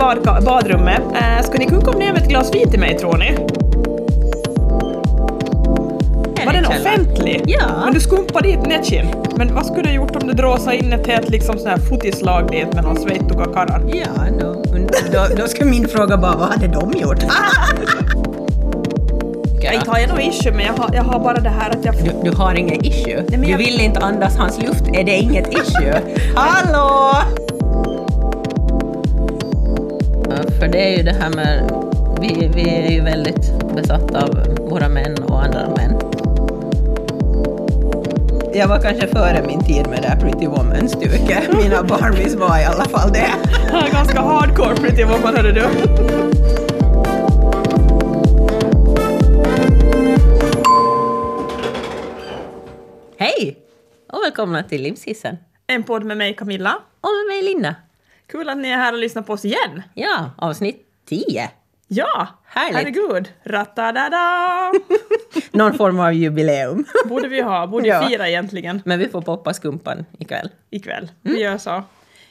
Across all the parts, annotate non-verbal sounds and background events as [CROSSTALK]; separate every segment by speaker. Speaker 1: badka- eh, badrummet. Eh, ska ni kuka ner med ett glas vin till mig tror ni? Var den offentlig?
Speaker 2: Ja.
Speaker 1: Men du skumpade dit nätskinn. Men vad skulle du gjort om du dråsade in ett helt liksom sån här fotislag dit med någon sveittuga karrar?
Speaker 2: Ja, no. Men då, då skulle min fråga bara, vad hade de
Speaker 1: [LAUGHS]
Speaker 2: gjort?
Speaker 1: Ja. Inte har jag något issue men jag har, jag har bara det här att jag
Speaker 2: Du, du har ingen issue.
Speaker 1: men
Speaker 2: Du
Speaker 1: jag-
Speaker 2: vill inte andas hans luft. Är det inget
Speaker 1: [LAUGHS]
Speaker 2: issue? Hallå! För det är ju det här med... Vi, vi är ju väldigt besatta av våra män och andra män. Jag var kanske före min tid med det här Pretty Woman-stuket. Mina Barbies var i alla fall det.
Speaker 1: har ganska hardcore typ, pretty woman hörde du.
Speaker 2: Hej! Och välkomna till Livshissen.
Speaker 1: En podd med mig Camilla.
Speaker 2: Och med mig Linda.
Speaker 1: Kul att ni är här och lyssnar på oss igen.
Speaker 2: Ja, avsnitt 10.
Speaker 1: Ja!
Speaker 2: Härligt.
Speaker 1: Herregud! Ratadada!
Speaker 2: Någon form av jubileum. [LAUGHS]
Speaker 1: Borde vi ha, borde
Speaker 2: Ja.
Speaker 1: vi fira egentligen
Speaker 2: Men vi får poppa skumpan ikväll.
Speaker 1: ikväll.
Speaker 2: Mm.
Speaker 1: Vi gör så.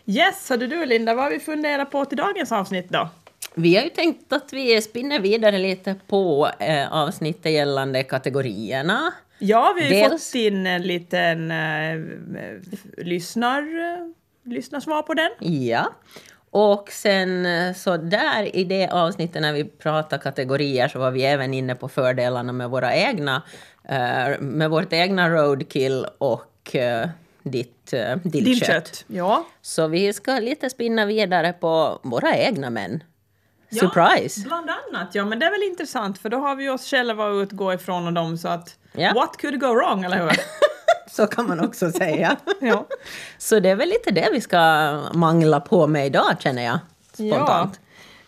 Speaker 1: Yes, hörde du Linda, vad har vi funderat på till dagens avsnitt då?
Speaker 2: Vi har ju tänkt att vi spinner vidare lite på eh, avsnittet gällande kategorierna.
Speaker 1: Ja, vi har ju
Speaker 2: Dels-
Speaker 1: fått in en liten eh, f- lyssnar, eh, lyssnarsvar på den.
Speaker 2: Ja. Och sen eh, så där i det avsnittet när vi pratar kategorier så var vi även inne på fördelarna med våra egna, eh, med vårt egna roadkill och eh, ditt eh, dillkött.
Speaker 1: Ja.
Speaker 2: Så vi ska lite spinna vidare på våra egna män. Surprise!
Speaker 1: Ja, bland annat. Ja, men det är väl intressant för då har vi oss själva att utgå ifrån och dem så att
Speaker 2: Ja.
Speaker 1: what could go wrong, eller
Speaker 2: [LAUGHS]
Speaker 1: hur?
Speaker 2: [LAUGHS] Så kan man också säga.
Speaker 1: ja.
Speaker 2: [LAUGHS] Så det är väl lite det vi ska mangla på med idag känner jag. Spontant.
Speaker 1: Ja.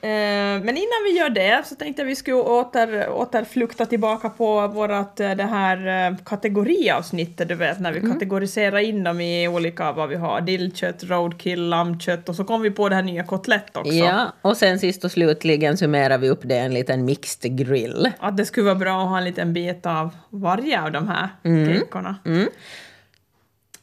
Speaker 1: Eh, Men innan vi gör det så tänkte jag vi skulle åter, återflukta tillbaka på vårat, eh, det här eh, kategoriavsnittet, du vet, när
Speaker 2: Mm.
Speaker 1: vi kategoriserar in dem i olika, vad vi har, dillkött, roadkill, lammkött och så kom vi på det här nya kotlett också.
Speaker 2: Ja, och sen sist och slutligen summerar vi upp det i en liten mixed grill.
Speaker 1: Att det skulle vara bra att ha en liten bit av varje av de här kekorna.
Speaker 2: Mm.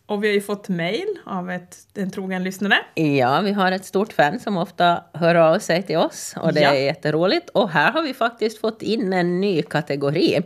Speaker 1: Och vi har ju fått mail av ett, en trogen lyssnare.
Speaker 2: Ja, vi har ett stort fan som ofta hör av sig till oss och det
Speaker 1: Ja.
Speaker 2: är jätteroligt. Och här har vi faktiskt fått in en ny kategori.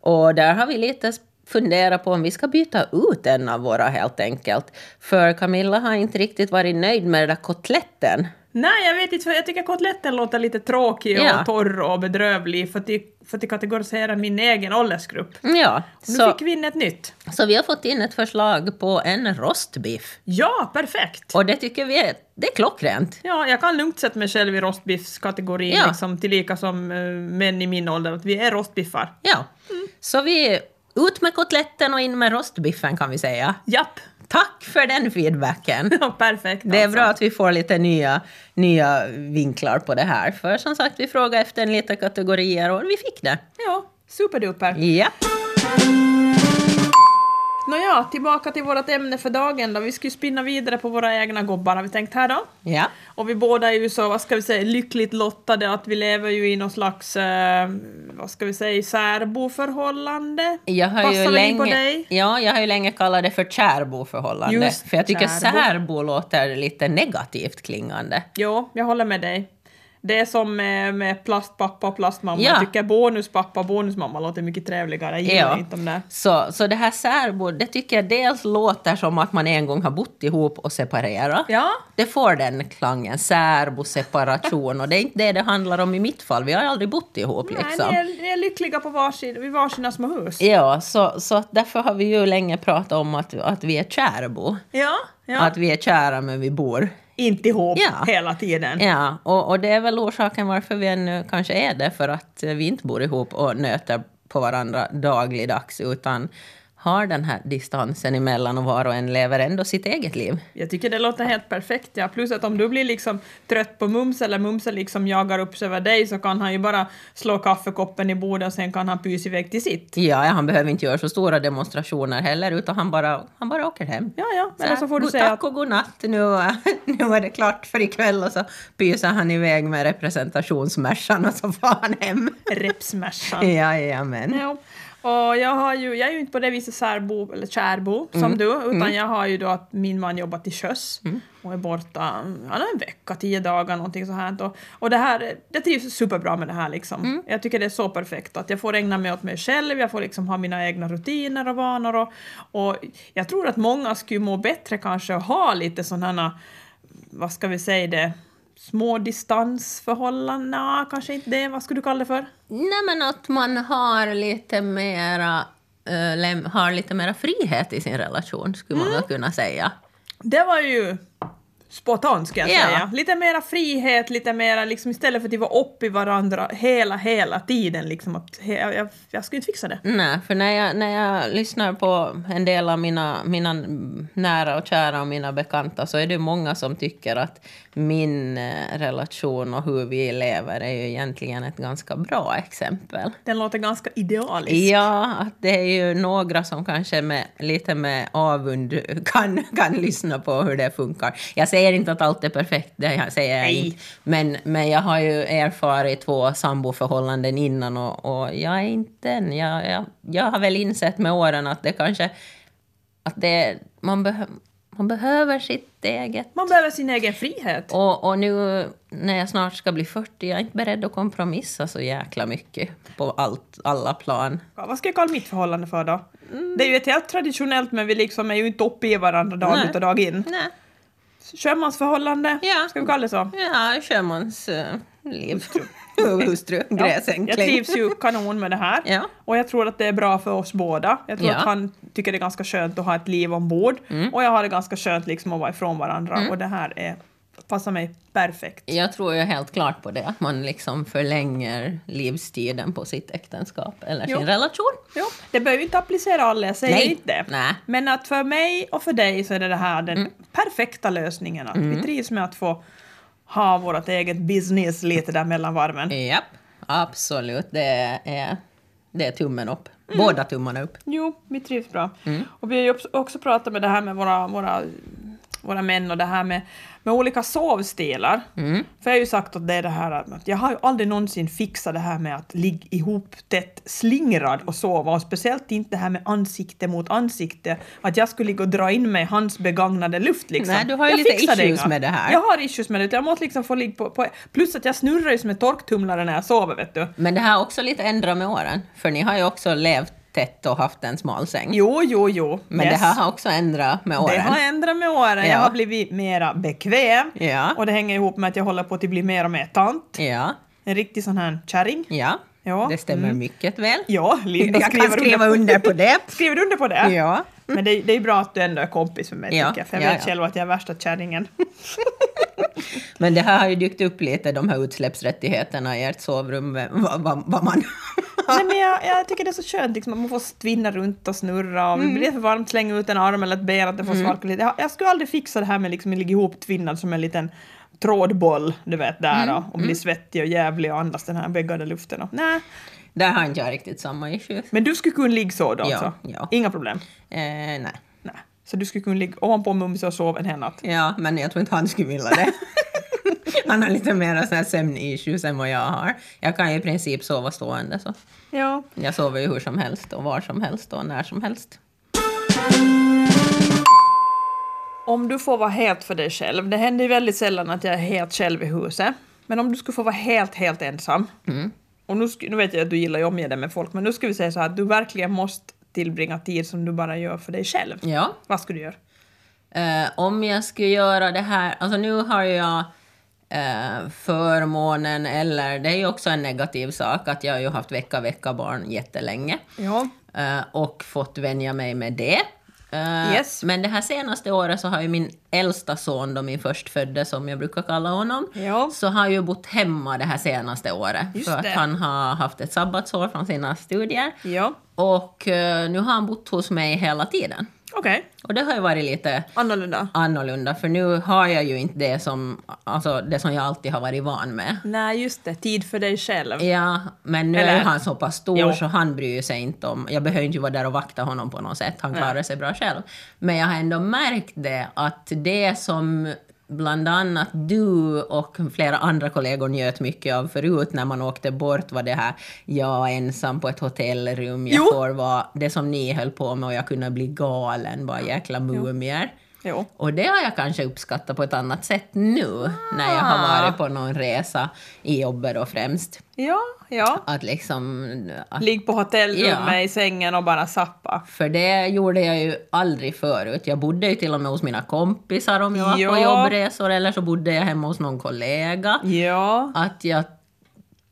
Speaker 2: Och där har vi lite funderat på om vi ska byta ut en av våra helt enkelt. För Camilla har inte riktigt varit nöjd med den där kotletten.
Speaker 1: Nej, jag vet inte, för jag tycker kotletten låter lite tråkig och
Speaker 2: Ja.
Speaker 1: torr och bedrövlig för att det- för att det kategoriserar min egen åldersgrupp.
Speaker 2: Ja,
Speaker 1: Nu
Speaker 2: så,
Speaker 1: fick vi in ett nytt.
Speaker 2: så vi har fått in ett förslag på en rostbiff.
Speaker 1: Ja, perfekt!
Speaker 2: Och det tycker vi är, det är klockrent.
Speaker 1: Ja, jag kan lugnt sätta mig själv i rostbiffskategorin,
Speaker 2: Ja.
Speaker 1: liksom, tillika som eh, män i min ålder, att vi är rostbiffar.
Speaker 2: Ja.
Speaker 1: Mm.
Speaker 2: Så vi, ut med kotletten och in med rostbiffen kan vi säga.
Speaker 1: Japp! [LAUGHS]
Speaker 2: Tack för den feedbacken.
Speaker 1: Ja, perfekt
Speaker 2: Det är
Speaker 1: alltså.
Speaker 2: bra att vi får lite nya, nya vinklar på det här. För som sagt, vi frågade efter en liten kategorier och vi fick det.
Speaker 1: Ja, superduper.
Speaker 2: Ja.
Speaker 1: Nåja, tillbaka till vårt ämne för dagen då. Vi ska ju spinna vidare på våra egna gobbar har vi tänkt här då.
Speaker 2: ja.
Speaker 1: Och vi båda är ju så, vad ska vi säga, lyckligt lottade att vi lever ju i någon slags, eh, vad ska vi säga, särboförhållande.
Speaker 2: Jag har,
Speaker 1: Passar
Speaker 2: ju
Speaker 1: väl in på
Speaker 2: länge,
Speaker 1: dig?
Speaker 2: ja, jag har ju länge kallat det för kärboförhållande.
Speaker 1: Just,
Speaker 2: för jag tycker
Speaker 1: kärbo.
Speaker 2: särbo låter lite negativt klingande.
Speaker 1: Jo, jag håller med dig. Det är som med, med plastpappa och plastmamma.
Speaker 2: Ja.
Speaker 1: Jag tycker bonuspappa och bonusmamma låter mycket trevligare. Jag gillar
Speaker 2: Ja.
Speaker 1: inte de där.
Speaker 2: Så, så det här särbo, det tycker jag dels låter som att man en gång har bott ihop och separerat.
Speaker 1: Ja,
Speaker 2: Det får den klangen, särbo, separation. Och det är inte det det handlar om i mitt fall. Vi har aldrig bott ihop liksom.
Speaker 1: Nej, ni, är, ni är lyckliga på varsin, vid varsina små hus.
Speaker 2: Ja, så, så att därför har vi ju länge pratat om att, att vi är kärbo.
Speaker 1: Ja, ja.
Speaker 2: Att vi är kära men vi bor.
Speaker 1: inte ihop
Speaker 2: Ja.
Speaker 1: hela tiden.
Speaker 2: Ja, och, och det är väl orsaken varför vi ännu kanske är det, för att eh, vi inte bor ihop och nöter på varandra dagligdags, utan har den här distansen emellan och var och en lever ändå sitt eget liv.
Speaker 1: Jag tycker det låter helt perfekt. Ja. Plus att om du blir liksom trött på Mums eller Mumse liksom jagar upp sig över dig så kan han ju bara slå kaffekoppen i bordet och sen kan han pysa iväg till sitt.
Speaker 2: Ja, han behöver inte göra så stora demonstrationer heller, utan han bara, han bara åker hem.
Speaker 1: Ja, ja,
Speaker 2: här,
Speaker 1: eller så får du
Speaker 2: "God
Speaker 1: säga att
Speaker 2: Tack och godnatt, nu, [LAUGHS] eh, nu är det klart för ikväll. Och så pyser han iväg med representationsmärsan och så far han hem.
Speaker 1: repsmärsan.
Speaker 2: Jajamän.
Speaker 1: Ja. Och jag, har ju, jag är ju inte på det viset särbo eller kärbo som du, utan jag har ju då att min man jobbar till sjöss och är borta ja, en vecka, tio dagar, någonting så här. Och, och det här, det trivs superbra med det här liksom. Jag tycker det är så perfekt att jag får ägna mig åt mig själv, jag får liksom ha mina egna rutiner och vanor och, och jag tror att många skulle må bättre kanske att ha lite sådana, vad ska vi säga det, små distansförhållanden, Nja, kanske inte det, vad skulle du kalla det för?
Speaker 2: Nej, men att man har lite mera, eh, läm- har lite mera frihet i sin relation, skulle man väl kunna säga.
Speaker 1: Det var ju spontant ska jag
Speaker 2: Ja.
Speaker 1: säga. Lite mera frihet, lite mera liksom istället för att vi var upp i varandra hela, hela tiden liksom att he, jag, jag skulle inte fixa det.
Speaker 2: Nej, för när jag, när jag lyssnar på en del av mina, mina nära och kära och mina bekanta så är det många som tycker att min eh, relation och hur vi lever är ju egentligen ett ganska bra exempel.
Speaker 1: Den låter ganska idealisk.
Speaker 2: Ja, att det är ju några som kanske med, lite med avund kan, kan lyssna på hur det funkar. Jag säger inte att allt är perfekt, det jag säger jag
Speaker 1: Nej.
Speaker 2: inte. Men, men jag har ju erfarit två samboförhållanden innan och, och jag är inte en. Jag, jag, jag har väl insett med åren att det kanske... Att det, man, behö, man behöver sitt eget
Speaker 1: Man behöver sin egen frihet.
Speaker 2: och, och nu när jag snart ska bli 40, jag är inte beredd att kompromissa så jäkla mycket på allt, alla plan.
Speaker 1: Ja, vad ska jag kalla mitt förhållande för då?
Speaker 2: Mm.
Speaker 1: Det är ju ett helt traditionellt men vi liksom är ju inte uppe i varandra dag
Speaker 2: Nej.
Speaker 1: ut och dag in.
Speaker 2: Nej.
Speaker 1: Sjömansförhållande,
Speaker 2: Ja.
Speaker 1: ska vi kalla det så?
Speaker 2: Ja, körmans uh, liv. Hustru.
Speaker 1: jag
Speaker 2: Gräsänkling.
Speaker 1: trivs ju kanon med det här.
Speaker 2: [LAUGHS] Ja.
Speaker 1: Och jag tror att det är bra för oss båda. Jag tror
Speaker 2: Ja. Mm.
Speaker 1: att han tycker det är ganska skönt att ha ett liv ombord. Och jag har det ganska skönt liksom att vara ifrån varandra. Och det här är, passar mig perfekt.
Speaker 2: Jag tror ju helt klart på det, att man liksom förlänger livstiden på sitt äktenskap eller
Speaker 1: Jo.
Speaker 2: sin relation.
Speaker 1: Jo, det behöver ju inte applicera alla, jag säger
Speaker 2: Nej.
Speaker 1: inte det.
Speaker 2: Nej. Mm.
Speaker 1: Men att för mig och för dig så är det, det här den perfekta lösningen. Att Vi trivs med att få ha vårt eget business lite där mellan varven.
Speaker 2: Japp, absolut. Det är, det är tummen upp. Båda tummarna upp.
Speaker 1: Jo, vi trivs bra.
Speaker 2: Mm.
Speaker 1: Och vi har ju också- också pratat med det här med våra, våra, våra män och det här med, med olika sovstilar.
Speaker 2: Mm.
Speaker 1: För jag har ju sagt att det är det här att att jag har ju aldrig någonsin fixat det här med att ligga ihop tätt slingrad och sova och speciellt inte det här med ansikte mot ansikte. Att jag skulle ligga och dra in mig i hans begagnade luft liksom.
Speaker 2: Nej, du har ju
Speaker 1: jag
Speaker 2: lite
Speaker 1: fixar det
Speaker 2: issues
Speaker 1: inga.
Speaker 2: med det här.
Speaker 1: Jag har issues med det. Jag måste liksom få ligga på, på... Plus att jag snurrar ju som en torktumlare när jag sover vet du.
Speaker 2: Men det här har också lite ändrat med åren, för ni har ju också levt tätt och haft en smal säng.
Speaker 1: Jo, jo, jo.
Speaker 2: Men
Speaker 1: Yes.
Speaker 2: det här har också ändrat med åren.
Speaker 1: Det har ändrat med åren. Jag
Speaker 2: Ja.
Speaker 1: har blivit mera bekväm.
Speaker 2: Ja.
Speaker 1: Och det hänger ihop med att jag håller på att bli mer och mer tant.
Speaker 2: Ja,
Speaker 1: En riktig sån här kärring.
Speaker 2: ja.
Speaker 1: Ja,
Speaker 2: det stämmer mycket väl.
Speaker 1: Ja, li-
Speaker 2: Jag kan skriva under på det.
Speaker 1: [LAUGHS] skriver du under på det?
Speaker 2: Ja.
Speaker 1: Men det, det är bra att du ändå är kompis med mig,
Speaker 2: Ja,
Speaker 1: tycker jag. För jag
Speaker 2: ja,
Speaker 1: vet
Speaker 2: ja.
Speaker 1: själv att jag är värsta kärringen.
Speaker 2: Men det här har ju dykt upp lite, de här utsläppsrättigheterna i ert sovrum, vad, vad, vad man... [LAUGHS]
Speaker 1: Nej, men jag, jag tycker det är så skönt liksom, att man får stvinna runt och snurra. Och
Speaker 2: Mm.
Speaker 1: Blir det för varmt, släng ut en arm eller ett ben, att det får svalka lite. Jag, jag skulle aldrig fixa det här med liksom, att ligga ihoptvinnad som en liten trådboll, du vet, där
Speaker 2: Mm.
Speaker 1: och, och bli svettig och jävlig och andas den här begagnade luften. och- Nej,
Speaker 2: Där har inte jag riktigt samma issue.
Speaker 1: Men du skulle kunna ligga så då
Speaker 2: Ja,
Speaker 1: alltså?
Speaker 2: ja.
Speaker 1: Inga problem?
Speaker 2: Eh, nej.
Speaker 1: Nej. Så du skulle kunna ligga ovanpå Mumse och sova en hel natt?
Speaker 2: Ja, men jag tror inte han skulle vilja det. [LAUGHS] han har lite mer sån här sömnissues än vad jag har. Jag kan ju i princip sova stående så.
Speaker 1: Ja.
Speaker 2: Jag sover ju hur som helst och var som helst och när som helst.
Speaker 1: Om du får vara helt för dig själv, det händer ju väldigt sällan att jag är helt själv i huset, men om du skulle få vara helt, helt ensam, och nu, sk- nu vet jag att du gillar ju att omge dig med folk, men nu ska vi säga så här att du verkligen måste tillbringa tid som du bara gör för dig själv.
Speaker 2: Ja.
Speaker 1: Vad skulle du göra?
Speaker 2: Eh, om jag skulle göra det här, alltså nu har ju jag eh, förmånen, eller det är ju också en negativ sak, att jag har ju haft vecka-vecka-barn jättelänge
Speaker 1: Ja.
Speaker 2: eh, och fått vänja mig med det. Eh,
Speaker 1: Yes.
Speaker 2: Men det här senaste året så har ju min äldsta son, då min förstfödde som jag brukar kalla honom,
Speaker 1: Ja.
Speaker 2: så har ju bott hemma det här senaste året.
Speaker 1: Just
Speaker 2: för
Speaker 1: det.
Speaker 2: att han har haft ett sabbatsår från sina studier.
Speaker 1: Ja.
Speaker 2: Och eh, nu har han bott hos mig hela tiden.
Speaker 1: Okej.
Speaker 2: Och det har ju varit lite
Speaker 1: Annorlunda.
Speaker 2: annorlunda, för nu har jag ju inte det som, alltså, det som jag alltid har varit van med.
Speaker 1: Nej, just det. Tid för dig själv.
Speaker 2: Ja, men nu
Speaker 1: Eller-
Speaker 2: är ju han så pass stor
Speaker 1: Jo.
Speaker 2: så han bryr sig inte om... Jag behöver inte vara där och vakta honom på något sätt, han klarar sig bra själv. Men jag har ändå märkt det, att det som bland annat du och flera andra kollegor njöt mycket av förut när man åkte bort var det här jag är ensam på ett hotellrum, jag
Speaker 1: Jo.
Speaker 2: får vara det som ni höll på med och jag kunde bli galen, bara jäkla mumier.
Speaker 1: Jo.
Speaker 2: Och det har jag kanske uppskattat på ett annat sätt nu när jag
Speaker 1: Ah.
Speaker 2: har varit på någon resa i jobbet då främst.
Speaker 1: Ja, ja.
Speaker 2: Att liksom, att,
Speaker 1: Ligg på hotellrummet
Speaker 2: Ja.
Speaker 1: i sängen och bara sappa.
Speaker 2: för det gjorde jag ju aldrig förut. Jag bodde ju till och med hos mina kompisar om jag var på
Speaker 1: Ja.
Speaker 2: jobbresor eller så bodde jag hemma hos någon kollega.
Speaker 1: Ja.
Speaker 2: Att jag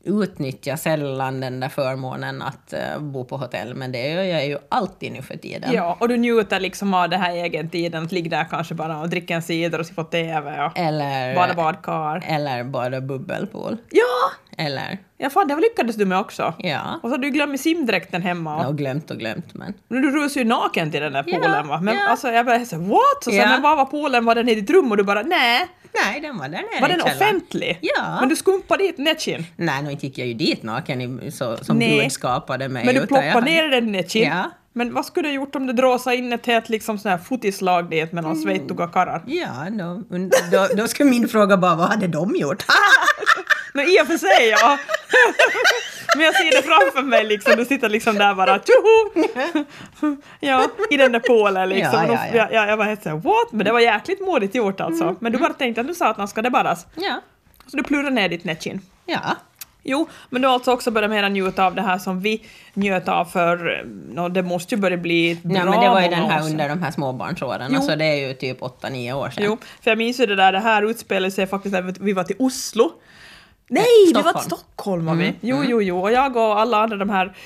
Speaker 2: utnyttjar sällan den där förmånen att eh, bo på hotell men det gör jag ju alltid nu för tiden.
Speaker 1: Ja, och du njuter liksom av den här egen tiden, att ligga där kanske bara och dricka en cider och se på TV och
Speaker 2: Eller,
Speaker 1: bada badkar.
Speaker 2: eller bara bubbelpool.
Speaker 1: Ja!
Speaker 2: Eller,
Speaker 1: Ja, fan, det lyckades du med också.
Speaker 2: ja.
Speaker 1: Och så har du glömt simdräkten hemma.
Speaker 2: Och glömt och glömt men.
Speaker 1: Nu Du rusar ju naken till den där
Speaker 2: Ja,
Speaker 1: poolen va? Men
Speaker 2: ja.
Speaker 1: alltså jag bara så, what? Och sen
Speaker 2: Ja.
Speaker 1: när bara var poolen, var den i ditt rum och du bara nej,
Speaker 2: Nej, den var där nere
Speaker 1: var
Speaker 2: i
Speaker 1: den
Speaker 2: källaren.
Speaker 1: offentlig?
Speaker 2: Ja.
Speaker 1: Men du skumpade dit nätkin?
Speaker 2: Nej, nu inte gick jag ju dit naken i- så, som
Speaker 1: Nej.
Speaker 2: Gud skapade mig.
Speaker 1: Men du
Speaker 2: utan
Speaker 1: ploppade
Speaker 2: jag hade-
Speaker 1: ner den i nätkin?
Speaker 2: Ja.
Speaker 1: Men vad skulle du ha gjort om du dråsade in ett helt liksom sån här fotislag dit mellan
Speaker 2: Mm.
Speaker 1: svettiga karlar?
Speaker 2: Ja, då, då, då skulle min fråga bara vad hade de gjort?
Speaker 1: Men i och för sig ja.
Speaker 2: [LAUGHS]
Speaker 1: Men jag ser det framför mig liksom, du sitter liksom där bara tjoho!
Speaker 2: [LAUGHS]
Speaker 1: Ja, i den där pålen liksom.
Speaker 2: Ja,
Speaker 1: Och då-
Speaker 2: ja, ja. Mm.
Speaker 1: Jag, jag var helt såhär what? Men det var jäkligt modigt gjort alltså. Men du bara tänkte att nu sa att man ska det badas.
Speaker 2: [LAUGHS] ja.
Speaker 1: Så du plurade ner ditt nätskinn.
Speaker 2: ja.
Speaker 1: Jo, men du har alltså också börjat mera njuta av det här som vi njöt av för, no, det måste ju börja bli ett bra
Speaker 2: Nej, men det var ju den
Speaker 1: många år
Speaker 2: här
Speaker 1: sedan.
Speaker 2: under de här småbarnsåren,
Speaker 1: Jo.
Speaker 2: alltså det är ju typ 8-9 år sedan.
Speaker 1: Jo, för jag minns ju det där, det här utspelade sig faktiskt när vi var till Oslo. Nej, vi var
Speaker 2: Stockholm. Mm.
Speaker 1: till Stockholm var vi. Jo, jo, jo. Och jag och alla andra de här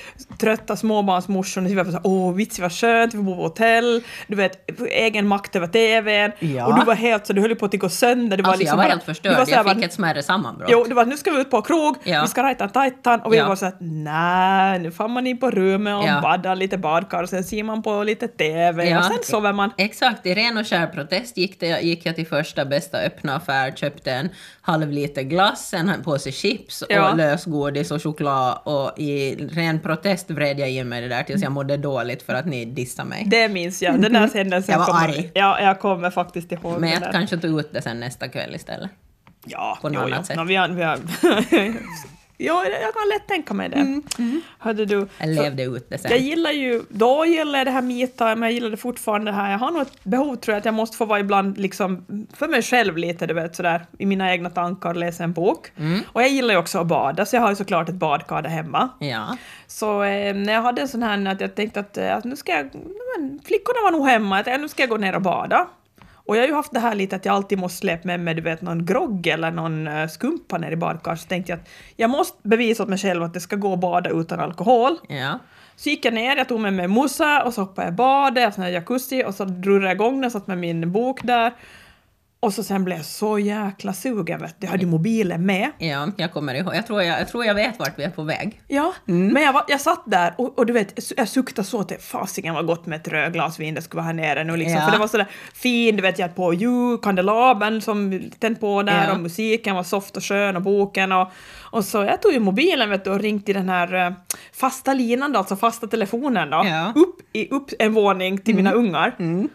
Speaker 1: trötta småbarnsmorsorna, vi var såhär åh vits vad skönt, vi bor på hotell, du vet, egen makt över TVn.
Speaker 2: Ja.
Speaker 1: Och du var helt så, du höll ju på att gå sönder. Du var
Speaker 2: Alltså
Speaker 1: liksom
Speaker 2: jag var
Speaker 1: bara-
Speaker 2: helt
Speaker 1: du
Speaker 2: förstörd,
Speaker 1: var så här
Speaker 2: jag
Speaker 1: bara,
Speaker 2: fick ett smärre sammanbrott.
Speaker 1: Jo, det var att nu ska vi ut på krog,
Speaker 2: Ja.
Speaker 1: vi ska rajta en tajtan och vi
Speaker 2: Ja.
Speaker 1: var så att nej, nu får man in på rummet och
Speaker 2: Ja.
Speaker 1: badar lite badkar och sen ser man på lite TV
Speaker 2: Ja.
Speaker 1: och sen sover man.
Speaker 2: Exakt, i ren och skär protest gick, det, gick jag till första bästa öppna affär, köpte en halv liter glass, en påse chips
Speaker 1: Ja.
Speaker 2: och lösgodis och choklad och i ren protest vred jag i mig det där tills jag mådde dåligt för att ni dissade mig.
Speaker 1: Det minns jag, den där händelsen
Speaker 2: Mm-hmm. Jag var
Speaker 1: kommer-
Speaker 2: arg.
Speaker 1: Ja, jag kommer faktiskt ihåg
Speaker 2: Men
Speaker 1: den
Speaker 2: jag
Speaker 1: där.
Speaker 2: kanske tog ut det sen nästa kväll istället.
Speaker 1: Ja,
Speaker 2: på något
Speaker 1: jo,
Speaker 2: annat
Speaker 1: jo.
Speaker 2: sätt.
Speaker 1: Nå, vi har, vi har... [LAUGHS] ja, jag kan lätt tänka mig det. Hörde du,
Speaker 2: Mm. Jag levde ut det sen.
Speaker 1: jag gillar ju, då gillar jag det här meetime, men jag gillar det fortfarande det här. Jag har nog ett behov tror jag att jag måste få vara ibland liksom för mig själv lite, du vet sådär i mina egna tankar, läsa en bok.
Speaker 2: Mm.
Speaker 1: Och jag gillar ju också att bada, så jag har ju såklart ett badkar där hemma.
Speaker 2: Ja.
Speaker 1: Så eh, när jag hade en sån här att jag tänkte att, eh, att nu ska jag, nej, men, flickorna var nog hemma, att, eh, nu ska jag gå ner och bada. Och jag har ju haft det här lite att jag alltid måste släppa med mig du vet, någon grogg eller någon eh, skumpa ner i badkaret. Så tänkte jag att jag måste bevisa åt mig själv att det ska gå att bada utan alkohol.
Speaker 2: Ja.
Speaker 1: Så gick jag ner, jag tog med mig mossa och så hoppade jag i badet, jag sån här jacuzzi och så drog jag igång den, satt med min bok där. Och så sen blev jag så jäkla sugen vet du, jag hade ju mobilen med.
Speaker 2: ja, jag kommer ihåg. Jag tror jag, jag tror jag vet vart vi är på väg.
Speaker 1: Ja,
Speaker 2: Mm.
Speaker 1: men jag, var, jag satt där och, och du vet, jag su- jag suktade så till fasingen vad gott med ett rödglas vin det skulle vara här nere nu liksom.
Speaker 2: Ja.
Speaker 1: För det var sådär fin, du vet, jag hade på ljus, kandelabern som tänd på där
Speaker 2: Ja.
Speaker 1: och musiken var soft och skön och boken och, och så jag tog ju mobilen vet du och ringde i den här eh, fasta linan då, alltså fasta telefonen då,
Speaker 2: Ja. Mm.
Speaker 1: upp, i, upp en våning till mina ungar.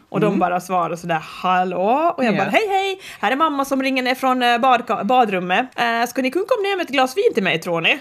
Speaker 1: Och de bara svarade sådär hallå och jag
Speaker 2: Ja.
Speaker 1: bara hej hej, här är mamma som ringer ner från eh, badka- badrummet. Eh, ska ni kunna komma ner med ett glas vin till mig tror ni?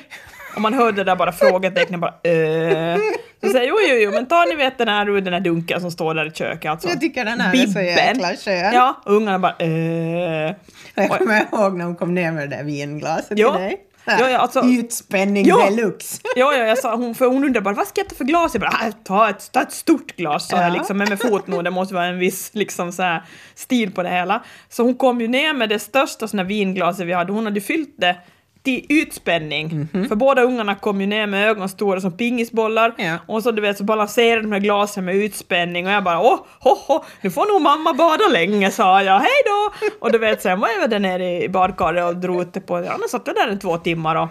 Speaker 1: Och man hörde det där bara frågetecknen bara eh. Så säger jag, jo jo jo men ta ni vet den här ur den här dunken som står där i köket alltså.
Speaker 2: Jag tycker den här är så jäkla skön.
Speaker 1: Ja, och ungarna bara eh.
Speaker 2: Jag
Speaker 1: Och-
Speaker 2: kommer ihåg när hon kom ner med det där vinglaset
Speaker 1: Ja.
Speaker 2: till dig.
Speaker 1: Ja, ja, alltså-
Speaker 2: Utspänning
Speaker 1: Ja.
Speaker 2: deluxe.
Speaker 1: Ja, ja, jag sa, hon, för hon undrade bara vad ska jag ta för glas? Jag bara "Ah, ta ett, ta ett stort glas sa jag
Speaker 2: Ja.
Speaker 1: liksom, men med fotnål, det måste vara en viss liksom, så här, stil på det hela. Så hon kom ju ner med det största såna vinglaset vi hade, hon hade ju fyllt det till utspänning.
Speaker 2: Mhm.
Speaker 1: För båda ungarna kom ju ner med ögon stora som pingisbollar
Speaker 2: Ja.
Speaker 1: och så du vet så balanserade de här glasen med utspänning och jag bara åh, ho, ho, nu får nog mamma bada länge sa jag, hej då! Och du vet sen var jag väl där nere i badkaret och drog ut det på, ja, men satt jag där i två timmar och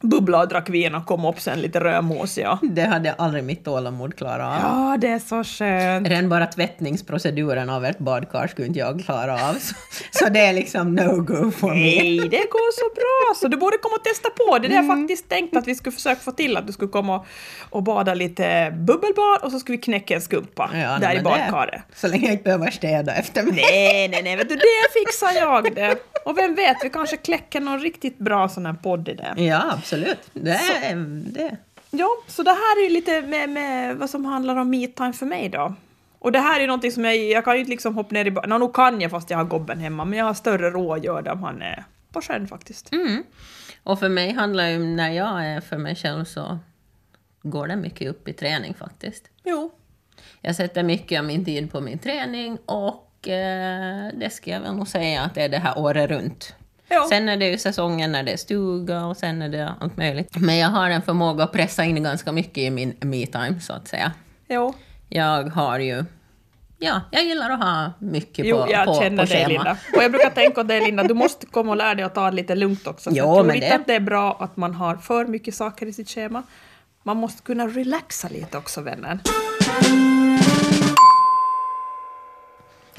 Speaker 1: bubblade och drack vin och kom upp sen lite rödmosiga.
Speaker 2: Det hade aldrig mitt tålamod klarat av.
Speaker 1: Ja, det är så skönt.
Speaker 2: Redan bara tvättningsproceduren av ert badkar skulle inte jag klara av. Så, så det är liksom no-go for me.
Speaker 1: Nej, det går så bra! Så du borde komma och testa på. Det är det
Speaker 2: Mm.
Speaker 1: jag faktiskt tänkt att vi skulle försöka få till, att du skulle komma och, och bada lite bubbelbad och så skulle vi knäcka en skumpa
Speaker 2: Ja,
Speaker 1: där
Speaker 2: nej,
Speaker 1: i
Speaker 2: men
Speaker 1: badkaret.
Speaker 2: det- Så länge jag inte behöver städa efter mig.
Speaker 1: Nej, nej, nej, vet du, det fixar jag det. Och vem vet, vi kanske kläcker någon riktigt bra sån här podd i det.
Speaker 2: Ja, absolut. Det är, det.
Speaker 1: Ja, så det här är ju lite med, med vad som handlar om me-time för mig då. Och det här är ju någonting som jag, jag kan ju inte liksom hoppa ner i ba- Nå, nu kan jag fast jag har gobben hemma, men jag har större råd att göra det om han är på sjön faktiskt.
Speaker 2: Mm. Och för mig handlar ju, när jag är för mig själv så går det mycket upp i träning faktiskt.
Speaker 1: Jo.
Speaker 2: Jag sätter mycket av min tid på min träning och eh, det ska jag väl nog säga att det är det här året runt.
Speaker 1: Ja.
Speaker 2: Sen är det ju säsongen när det är stuga och sen är det allt möjligt. Men jag har en förmåga att pressa in ganska mycket i min me-time så att säga.
Speaker 1: Jo.
Speaker 2: Jag har ju... Ja, jag gillar att ha mycket
Speaker 1: Jo,
Speaker 2: på,
Speaker 1: jag
Speaker 2: på,
Speaker 1: känner
Speaker 2: på
Speaker 1: dig
Speaker 2: schema.
Speaker 1: Linda. Och jag brukar tänka åt dig Linda, du måste komma och lära dig att ta det lite lugnt också. För
Speaker 2: Jo,
Speaker 1: jag tror
Speaker 2: men
Speaker 1: inte
Speaker 2: det-
Speaker 1: att det är bra att man har för mycket saker i sitt schema. Man måste kunna relaxa lite också vännen.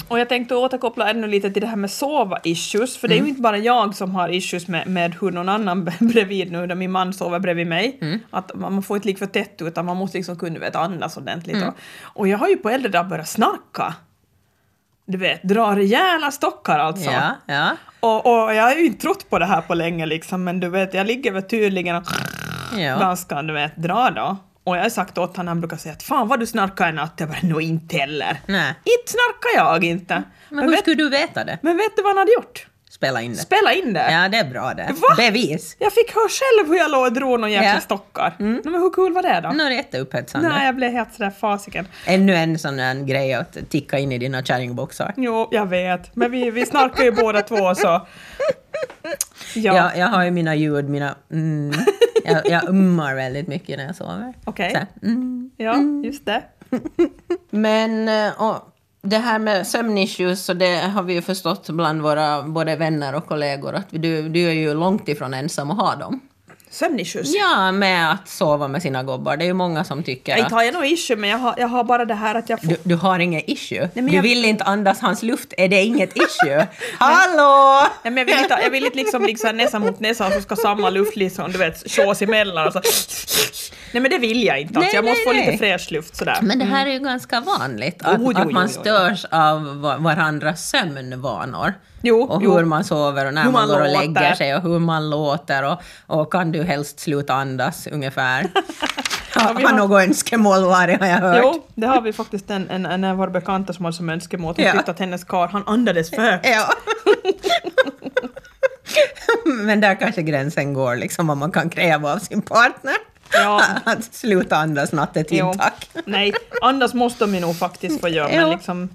Speaker 1: Och jag tänkte återkoppla ännu lite till det här med sova-issues, för det är
Speaker 2: Mm.
Speaker 1: ju inte bara jag som har issues med, med hur någon annan [LAUGHS] bredvid nu, när min man sover bredvid mig.
Speaker 2: Mm.
Speaker 1: Att man man får inte ligga för tätt utan man måste liksom kunna vet, andas ordentligt.
Speaker 2: Mm.
Speaker 1: Och, och jag har ju på äldre dagar börjat snarka. Du vet, dra rejäla stockar alltså.
Speaker 2: Ja, ja,
Speaker 1: Och, och jag har ju inte trott på det här på länge liksom, men du vet, jag ligger väl tydligen och
Speaker 2: ja.
Speaker 1: ganska, du vet, dra då. Och jag har sagt åt honom, han brukar säga att fan vad du snarkar i natt. Jag bara, nå inte heller.
Speaker 2: Nej.
Speaker 1: Inte snarkar jag inte.
Speaker 2: Mm. Men hur
Speaker 1: vet,
Speaker 2: skulle du veta det?
Speaker 1: men vet du vad han hade gjort?
Speaker 2: Spela in det.
Speaker 1: Spela in det.
Speaker 2: Ja, det är bra det.
Speaker 1: Va?
Speaker 2: Bevis.
Speaker 1: Jag fick höra själv hur jag låg och drog någon jäkla
Speaker 2: Ja. Mm.
Speaker 1: stockar. Nå, men hur kul var det då?
Speaker 2: Nu är det jätteupphetsande.
Speaker 1: Nej, jag blev helt sådär fasiken.
Speaker 2: Ännu en sån där grej att ticka in i dina kärringboxar.
Speaker 1: Jo, jag vet. Men vi, vi snarkar ju båda två så. Ja,
Speaker 2: Jag, jag har ju mina ljud, mina mm. jag, jag ummar väldigt mycket när jag sover.
Speaker 1: Okej.
Speaker 2: Så här, mm.
Speaker 1: ja just det.
Speaker 2: Men eh, och det här med sömnissues, så det har vi ju förstått bland våra både vänner och kollegor att du, du är ju långt ifrån ensam att ha dem.
Speaker 1: Sömnissues.
Speaker 2: Ja, med att sova med sina gobbar. Det är ju många som tycker
Speaker 1: Jag
Speaker 2: att
Speaker 1: har jag något issue, men jag har, jag har bara det här att jag får...
Speaker 2: du, du har inget issue.
Speaker 1: men
Speaker 2: du
Speaker 1: jag-
Speaker 2: vill inte andas hans luft. Är det [LAUGHS] inget issue? Hallå!
Speaker 1: Nej, men jag vill inte, jag vill inte liksom, liksom näsa mot näsa och så ska samma luft liksom, du vet, tjås emellan. Och så. Nej men det vill jag inte. Alltså,
Speaker 2: Nej,
Speaker 1: jag måste
Speaker 2: nej,
Speaker 1: få lite
Speaker 2: nej.
Speaker 1: fräsch luft sådär.
Speaker 2: Men det här är ju ganska vanligt, att,
Speaker 1: Jo, jo,
Speaker 2: att man
Speaker 1: jo, jo, jo.
Speaker 2: störs av va- varandras sömnvanor.
Speaker 1: Jo,
Speaker 2: och
Speaker 1: jo.
Speaker 2: hur man sover och när
Speaker 1: Hur
Speaker 2: man,
Speaker 1: man
Speaker 2: går och
Speaker 1: låter.
Speaker 2: lägger sig och hur man låter och, och kan du helst sluta andas ungefär. [LAUGHS]
Speaker 1: Ja, vi
Speaker 2: har
Speaker 1: har-
Speaker 2: något önskemål varit har jag hört.
Speaker 1: Jo, det har vi faktiskt en, en, en av våra bekanta som hade som önskemål. Hon
Speaker 2: Ja. Eh,
Speaker 1: tyckte att hennes karl, han andades för högt.
Speaker 2: Ja. [LAUGHS] Men där kanske gränsen går, liksom vad man kan kräva av sin partner.
Speaker 1: Ja.
Speaker 2: [LAUGHS] Att sluta andas nattetid,
Speaker 1: Jo.
Speaker 2: tack.
Speaker 1: Nej, andas måste de ju nog faktiskt få göra.
Speaker 2: Ja.
Speaker 1: Men, liksom,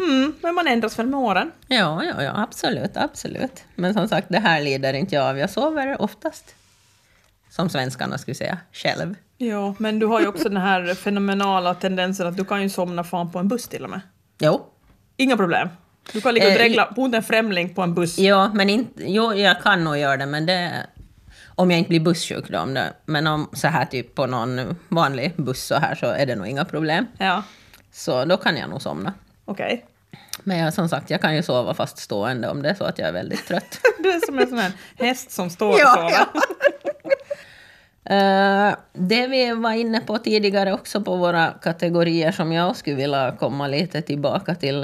Speaker 1: mm, men man ändras väl med åren.
Speaker 2: [LAUGHS] Ja, ja, ja, absolut, absolut. Men som sagt, det här lider inte jag av. Jag sover oftast, som svenskarna skulle säga, själv.
Speaker 1: Ja, men du har ju också den här fenomenala tendensen att du kan ju somna fan på en buss till och med.
Speaker 2: Jo,
Speaker 1: Inga problem. Du kan ligga och
Speaker 2: Eh,
Speaker 1: dregla mot en främling på en buss.
Speaker 2: ja, men inte, jo, jag kan nog göra det, men det... Om jag inte blir bussjuk då, om det, men om så här typ på någon vanlig buss så här så är det nog inga problem.
Speaker 1: Ja,
Speaker 2: Så då kan jag nog somna.
Speaker 1: okej.
Speaker 2: Men jag, som sagt, jag kan ju sova fast stående om det är så att jag är väldigt trött.
Speaker 1: Du är som en sån här häst som står och
Speaker 2: Ja,
Speaker 1: sover.
Speaker 2: ja. [LAUGHS] Eh, det vi var inne på tidigare också på våra kategorier som jag skulle vilja komma lite tillbaka till.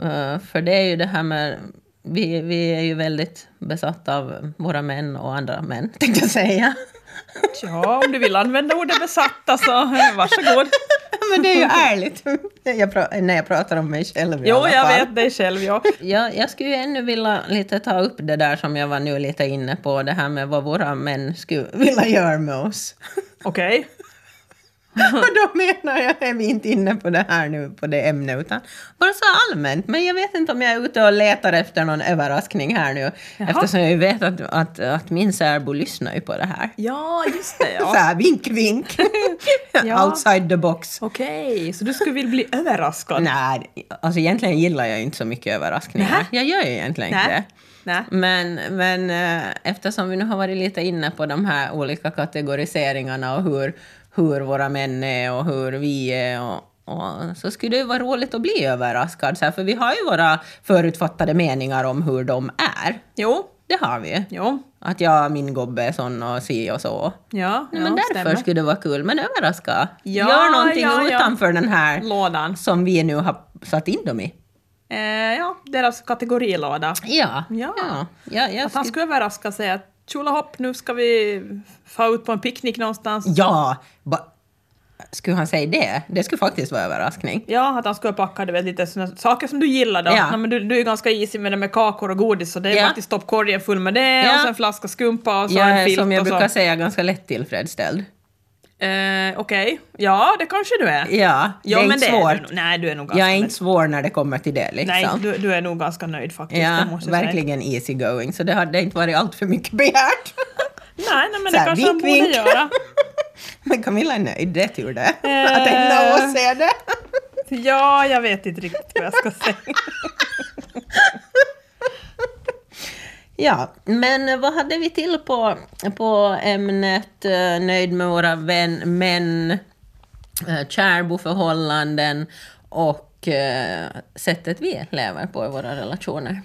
Speaker 2: Eh, för det är ju det här med... Vi, vi är ju väldigt besatta av våra män och andra män, tänkte jag säga.
Speaker 1: Ja, om du vill använda ordet besatta så eh, varsågod.
Speaker 2: [LAUGHS] Men det är [LAUGHS] ju ärligt jag pra- när jag pratar om mig själv i
Speaker 1: Jo,
Speaker 2: alla
Speaker 1: jag
Speaker 2: fall.
Speaker 1: vet dig själv. Ja.
Speaker 2: Jag, jag skulle ju ännu vilja lite ta upp det där som jag var nu lite inne
Speaker 1: [LAUGHS]
Speaker 2: på, det här med vad våra män skulle vilja göra med oss.
Speaker 1: Okej.
Speaker 2: Och då menar jag, är vi inte inne på det här nu, på det ämnet, utan bara så allmänt. Men jag vet inte om jag är ute och letar efter någon överraskning här nu,
Speaker 1: Jaha.
Speaker 2: eftersom jag ju vet att, att, att min särbo lyssnar ju på det här.
Speaker 1: Ja, just det.
Speaker 2: Så
Speaker 1: Ja.
Speaker 2: [LAUGHS] här, vink, vink.
Speaker 1: [LAUGHS] Ja.
Speaker 2: Outside the box.
Speaker 1: Okej, så du skulle vilja bli överraskad?
Speaker 2: Nej, alltså egentligen gillar jag inte så mycket överraskningar.
Speaker 1: Nähä.
Speaker 2: Jag gör ju egentligen inte
Speaker 1: Nej.
Speaker 2: det.
Speaker 1: Nej.
Speaker 2: Men, men eh, eftersom vi nu har varit lite inne på de här olika kategoriseringarna och hur, hur våra män är och hur vi är och, och, så skulle det ju vara roligt att bli överraskad. Så här, för vi har ju våra förutfattade meningar om hur de är.
Speaker 1: Jo,
Speaker 2: Det har vi ju.
Speaker 1: jo.
Speaker 2: Att jag, min gubbe är sån och si och så.
Speaker 1: Ja, ja
Speaker 2: men därför
Speaker 1: stämmer.
Speaker 2: skulle det vara kul. Men överraska.
Speaker 1: Ja,
Speaker 2: Gör någonting
Speaker 1: ja, ja.
Speaker 2: utanför den här
Speaker 1: Lådan.
Speaker 2: som vi nu har satt in dem i.
Speaker 1: Eh, ja, deras kategorilåda.
Speaker 2: Ja.
Speaker 1: Ja.
Speaker 2: ja. ja jag
Speaker 1: Att han
Speaker 2: skulle-
Speaker 1: skulle överraska sig att tjolahopp, nu ska vi få ut på en picknick någonstans.
Speaker 2: Ja! Ba... Skulle han säga det? Det skulle faktiskt vara överraskning.
Speaker 1: Ja, att han skulle packa du vet, lite såna saker som du gillar då.
Speaker 2: Ja.
Speaker 1: Nej, men du, du är ju ganska easy med det med kakor och godis så det är
Speaker 2: Ja.
Speaker 1: faktiskt toppkorgen full med det
Speaker 2: Ja.
Speaker 1: och så en flaska skumpa och så
Speaker 2: Jag
Speaker 1: en
Speaker 2: är,
Speaker 1: filt
Speaker 2: som jag
Speaker 1: och så.
Speaker 2: brukar säga, ganska lätt tillfredsställd.
Speaker 1: Eh, Okej, ja det kanske du är.
Speaker 2: Ja,
Speaker 1: Ja,
Speaker 2: det är
Speaker 1: men
Speaker 2: inte
Speaker 1: det Är du,
Speaker 2: svårt.
Speaker 1: nog. nej, du är nog ganska
Speaker 2: jag är
Speaker 1: nöjd.
Speaker 2: inte svår när det kommer till det. Liksom.
Speaker 1: Nej, du, du är nog ganska nöjd faktiskt. det
Speaker 2: ja,
Speaker 1: måste jag säga.
Speaker 2: verkligen easy going, så det hade inte varit allt för mycket begärt.
Speaker 1: Nej, nej [LAUGHS] men
Speaker 2: Så
Speaker 1: det
Speaker 2: här,
Speaker 1: kanske han borde göra.
Speaker 2: [LAUGHS] men Camilla är nöjd, det är tur det.
Speaker 1: Eh.
Speaker 2: Att ägna oss är det.
Speaker 1: Ja, jag vet inte riktigt vad
Speaker 2: [LAUGHS]
Speaker 1: jag ska säga.
Speaker 2: Ja, men vad hade vi till på, på ämnet eh, nöjd med våra vän, män, eh, kärboförhållanden och eh, sättet vi lever på i våra relationer?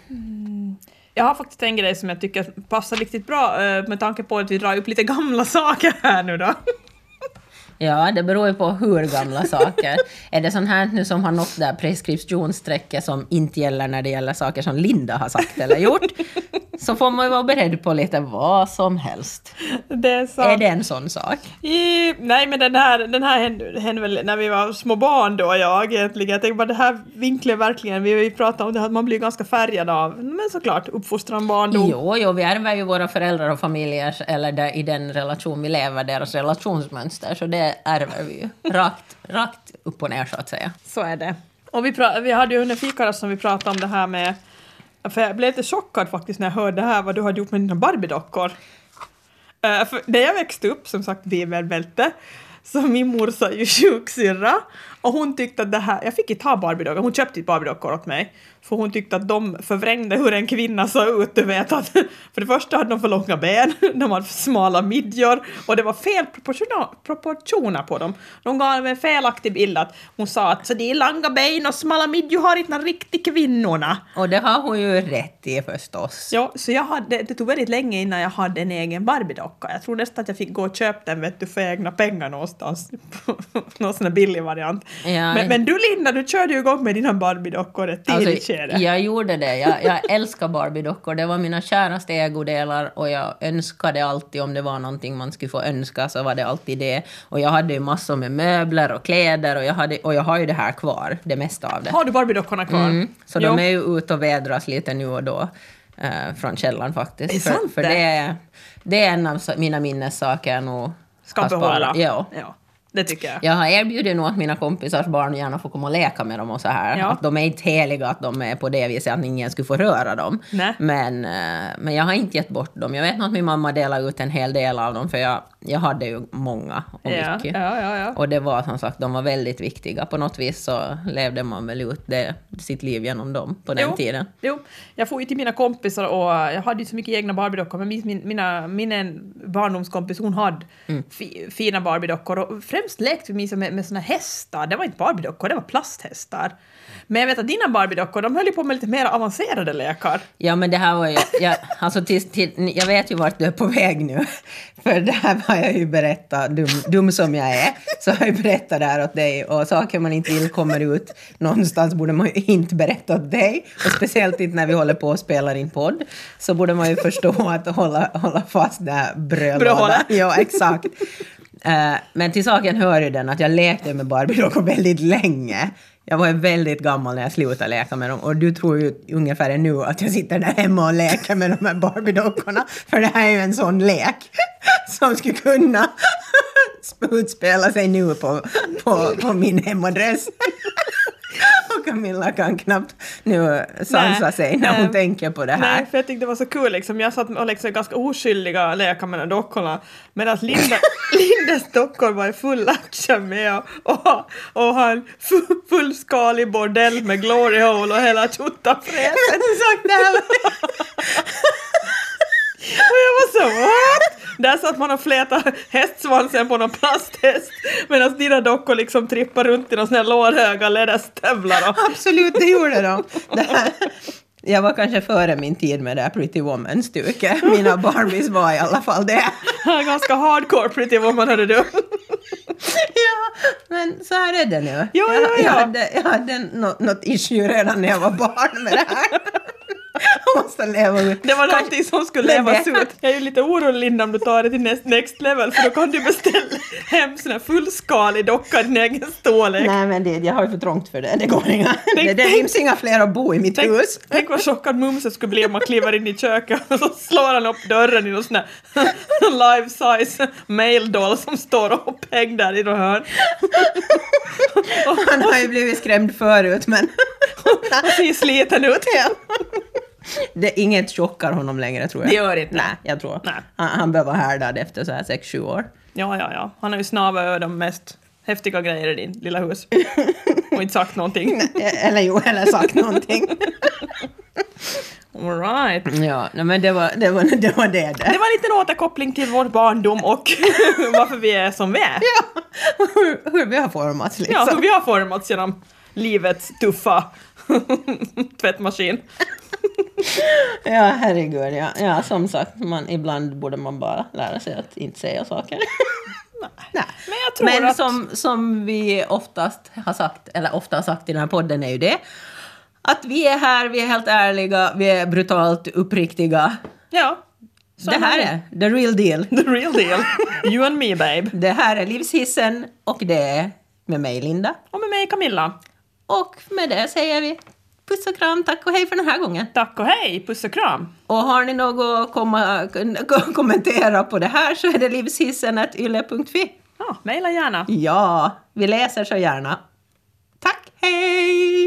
Speaker 1: Jag har faktiskt en grej som jag tycker passar riktigt bra eh, med tanke på att vi drar upp lite gamla [LAUGHS] saker här nu då.
Speaker 2: Ja, det beror ju på hur gamla [LAUGHS] saker. är det sånt här nu som har nått det där preskriptionsstrecket som inte gäller när det gäller saker som Linda har sagt eller [LAUGHS] gjort, så får man ju vara beredd på lite vad som helst.
Speaker 1: Det är sant.
Speaker 2: Är det en sån sak?
Speaker 1: I, nej men den här, den här hände, hände väl när vi var små barn då jag egentligen. Jag tänkte bara det här vinklar verkligen, vi, vi pratade om det här att man blir ganska färgad av, men såklart uppfostran, barndom.
Speaker 2: Jo, jo, vi ärver ju våra föräldrar och familjer, eller där, i den relation vi lever, deras relationsmönster, så det ärver vi ju. Rakt, rakt upp och ner så att säga.
Speaker 1: Så är det. Och vi, pra- vi hade ju under fikarast som vi pratade om det här med, för jag blev lite chockad faktiskt när jag hörde det här vad du hade gjort med dina Barbie-dockor. Eh, för när jag växte upp, som sagt bibelbälte, så min morsa är ju [LAUGHS] sjuksyrra och hon tyckte att det här, jag fick inte ha Barbie-dockor, hon köpte inte Barbie-dockor åt mig för hon tyckte att de förvrängde hur en kvinna såg ut, du vet att [LAUGHS] för det första hade de för långa ben, [LAUGHS] de hade för smala midjor och det var fel proportiona- proportioner på dem. De gav en felaktig bild att hon sa att så det är långa ben och smala midjor har inte några riktigt kvinnorna.
Speaker 2: Och det har hon ju rätt i förstås.
Speaker 1: Ja, så jag hade, det tog väldigt länge innan jag hade en egen Barbie-docka. Jag tror nästan att jag fick gå och köpa den vet du, för egna pengar någonstans. [LAUGHS] Någon sån där billig variant.
Speaker 2: Ja.
Speaker 1: Men, men du Linda, du körde ju igång med dina Barbie-dockor i ett tidigt
Speaker 2: Alltså,
Speaker 1: skede.
Speaker 2: jag gjorde det. Jag, jag älskar Barbie-dockor. Det var mina käraste ägodelar och jag önskade alltid, om det var någonting man skulle få önska, så var det alltid det. Och jag hade ju massor med möbler och kläder och jag, hade, och jag har ju det här kvar, det mesta av det.
Speaker 1: Har du Barbie-dockorna kvar?
Speaker 2: Mm. Så
Speaker 1: Jo.
Speaker 2: de är ju ute och vädras lite nu och då eh, från källaren faktiskt.
Speaker 1: Är det
Speaker 2: för
Speaker 1: sant
Speaker 2: för
Speaker 1: det?
Speaker 2: det, är, det är en av sa- mina minnessaker jag nog
Speaker 1: Ska
Speaker 2: har sparat.
Speaker 1: behålla.
Speaker 2: Ja.
Speaker 1: ja. Det tycker jag.
Speaker 2: Jag har erbjudit nog att mina kompisars barn gärna får komma och leka med dem och så här.
Speaker 1: Ja.
Speaker 2: Att de är inte heliga, att de är på det viset att ingen skulle få röra dem.
Speaker 1: Nej.
Speaker 2: Men, eh, men jag har inte gett bort dem. Jag vet nog att min mamma delade ut en hel del av dem, för jag, jag hade ju många och
Speaker 1: Ja,
Speaker 2: mycket.
Speaker 1: ja, ja, ja.
Speaker 2: Och det var som sagt, de var väldigt viktiga. På något vis så levde man väl ut det, sitt liv genom dem på den
Speaker 1: Jo.
Speaker 2: tiden.
Speaker 1: Jo, jag får ju till mina kompisar och äh, jag hade ju så mycket egna Barbie-dockor men min, min, mina, min en barndomskompis hon hade
Speaker 2: Mm.
Speaker 1: fi, fina Barbie-dockor och främst lekte vi minns jag, med, med såna hästar, det var inte Barbie-dockor, det var
Speaker 2: Mm.
Speaker 1: plasthästar. Men jag vet att dina Barbie-dockor de höll ju på med lite mer avancerade lekar.
Speaker 2: Ja men det här var ju, jag, alltså till, till, jag vet ju vart du är på väg nu. [LAUGHS] För det här har jag ju berättat, dum, dum som jag är, så har jag ju berättat det här åt dig. Och saker man inte vill kommer ut någonstans borde man ju inte berätta åt dig. Och speciellt inte när vi håller på och spelar in podd. [LAUGHS] Så borde man ju förstå att hålla, hålla fast det här brödlådan.
Speaker 1: Brödhåla.
Speaker 2: Ja exakt. Eh, Men till saken hör ju den att jag lekte med Barbie-dockor [LAUGHS] väldigt länge. Jag var ju väldigt gammal när jag slutade leka med dem och du tror ju ungefär nu att jag sitter där hemma och leker med de här Barbie-dockorna. För det här är ju en sån lek [LAUGHS] som skulle kunna [LAUGHS] utspela sig nu på, på, på min hemadress. [LAUGHS] Och Camilla kan knappt nu sansa
Speaker 1: Nej,
Speaker 2: sig när hon
Speaker 1: nej.
Speaker 2: tänker på det här. [LAUGHS]
Speaker 1: Nej, för jag tyckte det var så kul liksom. Jag satt och liksom ganska oskyldiga lekar med de här dockorna medan Linda, [LAUGHS] Lindas dockor var i full action med och, och, och han fu- fullskalig bordell med glory hole och hela tjottafräsen.
Speaker 2: Exakt det här var-
Speaker 1: Och jag var så what? Där satt man och flätade hästsvansen på någon plasthäst medan dina dockor liksom trippar runt i några såna här lårhöga läderstövlar. Och...
Speaker 2: Absolut, det gjorde de. Det här. Jag var kanske före min tid med det här Pretty Woman-stuket. Mina Barbies var i alla fall det.
Speaker 1: Ganska hardcore pretty woman hörde du.
Speaker 2: Ja, men så här är det nu.
Speaker 1: Ja, ja,
Speaker 2: Jag, jag
Speaker 1: ja.
Speaker 2: hade, jag hade nå- något issue redan när jag var barn med det här. Jag måste leva ut.
Speaker 1: Det var någonting som skulle
Speaker 2: Men det-
Speaker 1: levas ut. Jag är ju lite orolig Linda om du tar det till next, next level för då kan du beställa hem sån här fullskalig docka i din egen storlek.
Speaker 2: Nej, men det, jag har ju för trångt för det. Det går inga. Det, det
Speaker 1: tänk-
Speaker 2: finns inga fler att bo i mitt
Speaker 1: Tänk,
Speaker 2: hus.
Speaker 1: tänk vad chockad Mumse skulle bli om man kliver in i köket och så slår han upp dörren i någon sån här [LAUGHS] life size male doll som står upphängd där i något hörn.
Speaker 2: Han har ju blivit skrämd
Speaker 1: [LAUGHS]
Speaker 2: förut, men...
Speaker 1: Och ser sliten ut.
Speaker 2: Ja. [LAUGHS] Det, inget chockar honom längre tror jag.
Speaker 1: Det gör det inte.
Speaker 2: Nej, jag tror.
Speaker 1: Nej.
Speaker 2: Han, han bör vara härdad efter så här 6-7 år. [LAUGHS]
Speaker 1: Ja, ja, ja. Han har ju snavat över de mest häftiga grejer i din lilla hus. Och inte sagt någonting.
Speaker 2: Eller jo, eller
Speaker 1: [LAUGHS]
Speaker 2: sagt någonting.
Speaker 1: All right.
Speaker 2: ja, nej, men det var det. Var, det, var
Speaker 1: [LAUGHS]
Speaker 2: det,
Speaker 1: Det
Speaker 2: det.
Speaker 1: var en liten återkoppling till vår barndom och [LAUGHS] varför vi är som vi är.
Speaker 2: Ja, hur, hur vi har formats liksom.
Speaker 1: Ja, hur vi har formats genom livets tuffa [LAUGHS] tvättmaskin.
Speaker 2: Ja, herregud. Ja. ja, som sagt, man, ibland borde man bara lära sig att inte säga saker. [LAUGHS] Nej.
Speaker 1: Men jag tror
Speaker 2: Men
Speaker 1: att-
Speaker 2: som, som vi oftast har sagt, eller ofta har sagt i den här podden är ju det att vi är här, vi är helt ärliga, vi är brutalt uppriktiga.
Speaker 1: Ja. Så
Speaker 2: det här är the real deal.
Speaker 1: The real
Speaker 2: [LAUGHS]
Speaker 1: deal. You and me babe.
Speaker 2: Det här är livshissen och det är med mig Linda.
Speaker 1: Och med mig Camilla.
Speaker 2: Och med det säger vi puss och kram, tack och hej för den här gången.
Speaker 1: Tack och hej, puss och kram.
Speaker 2: Och har ni något att komma, [LAUGHS] k- kommentera på det här så är det livshissen.yle.fi.
Speaker 1: Ja, mejla gärna.
Speaker 2: Ja, vi läser så gärna. Tack, hej!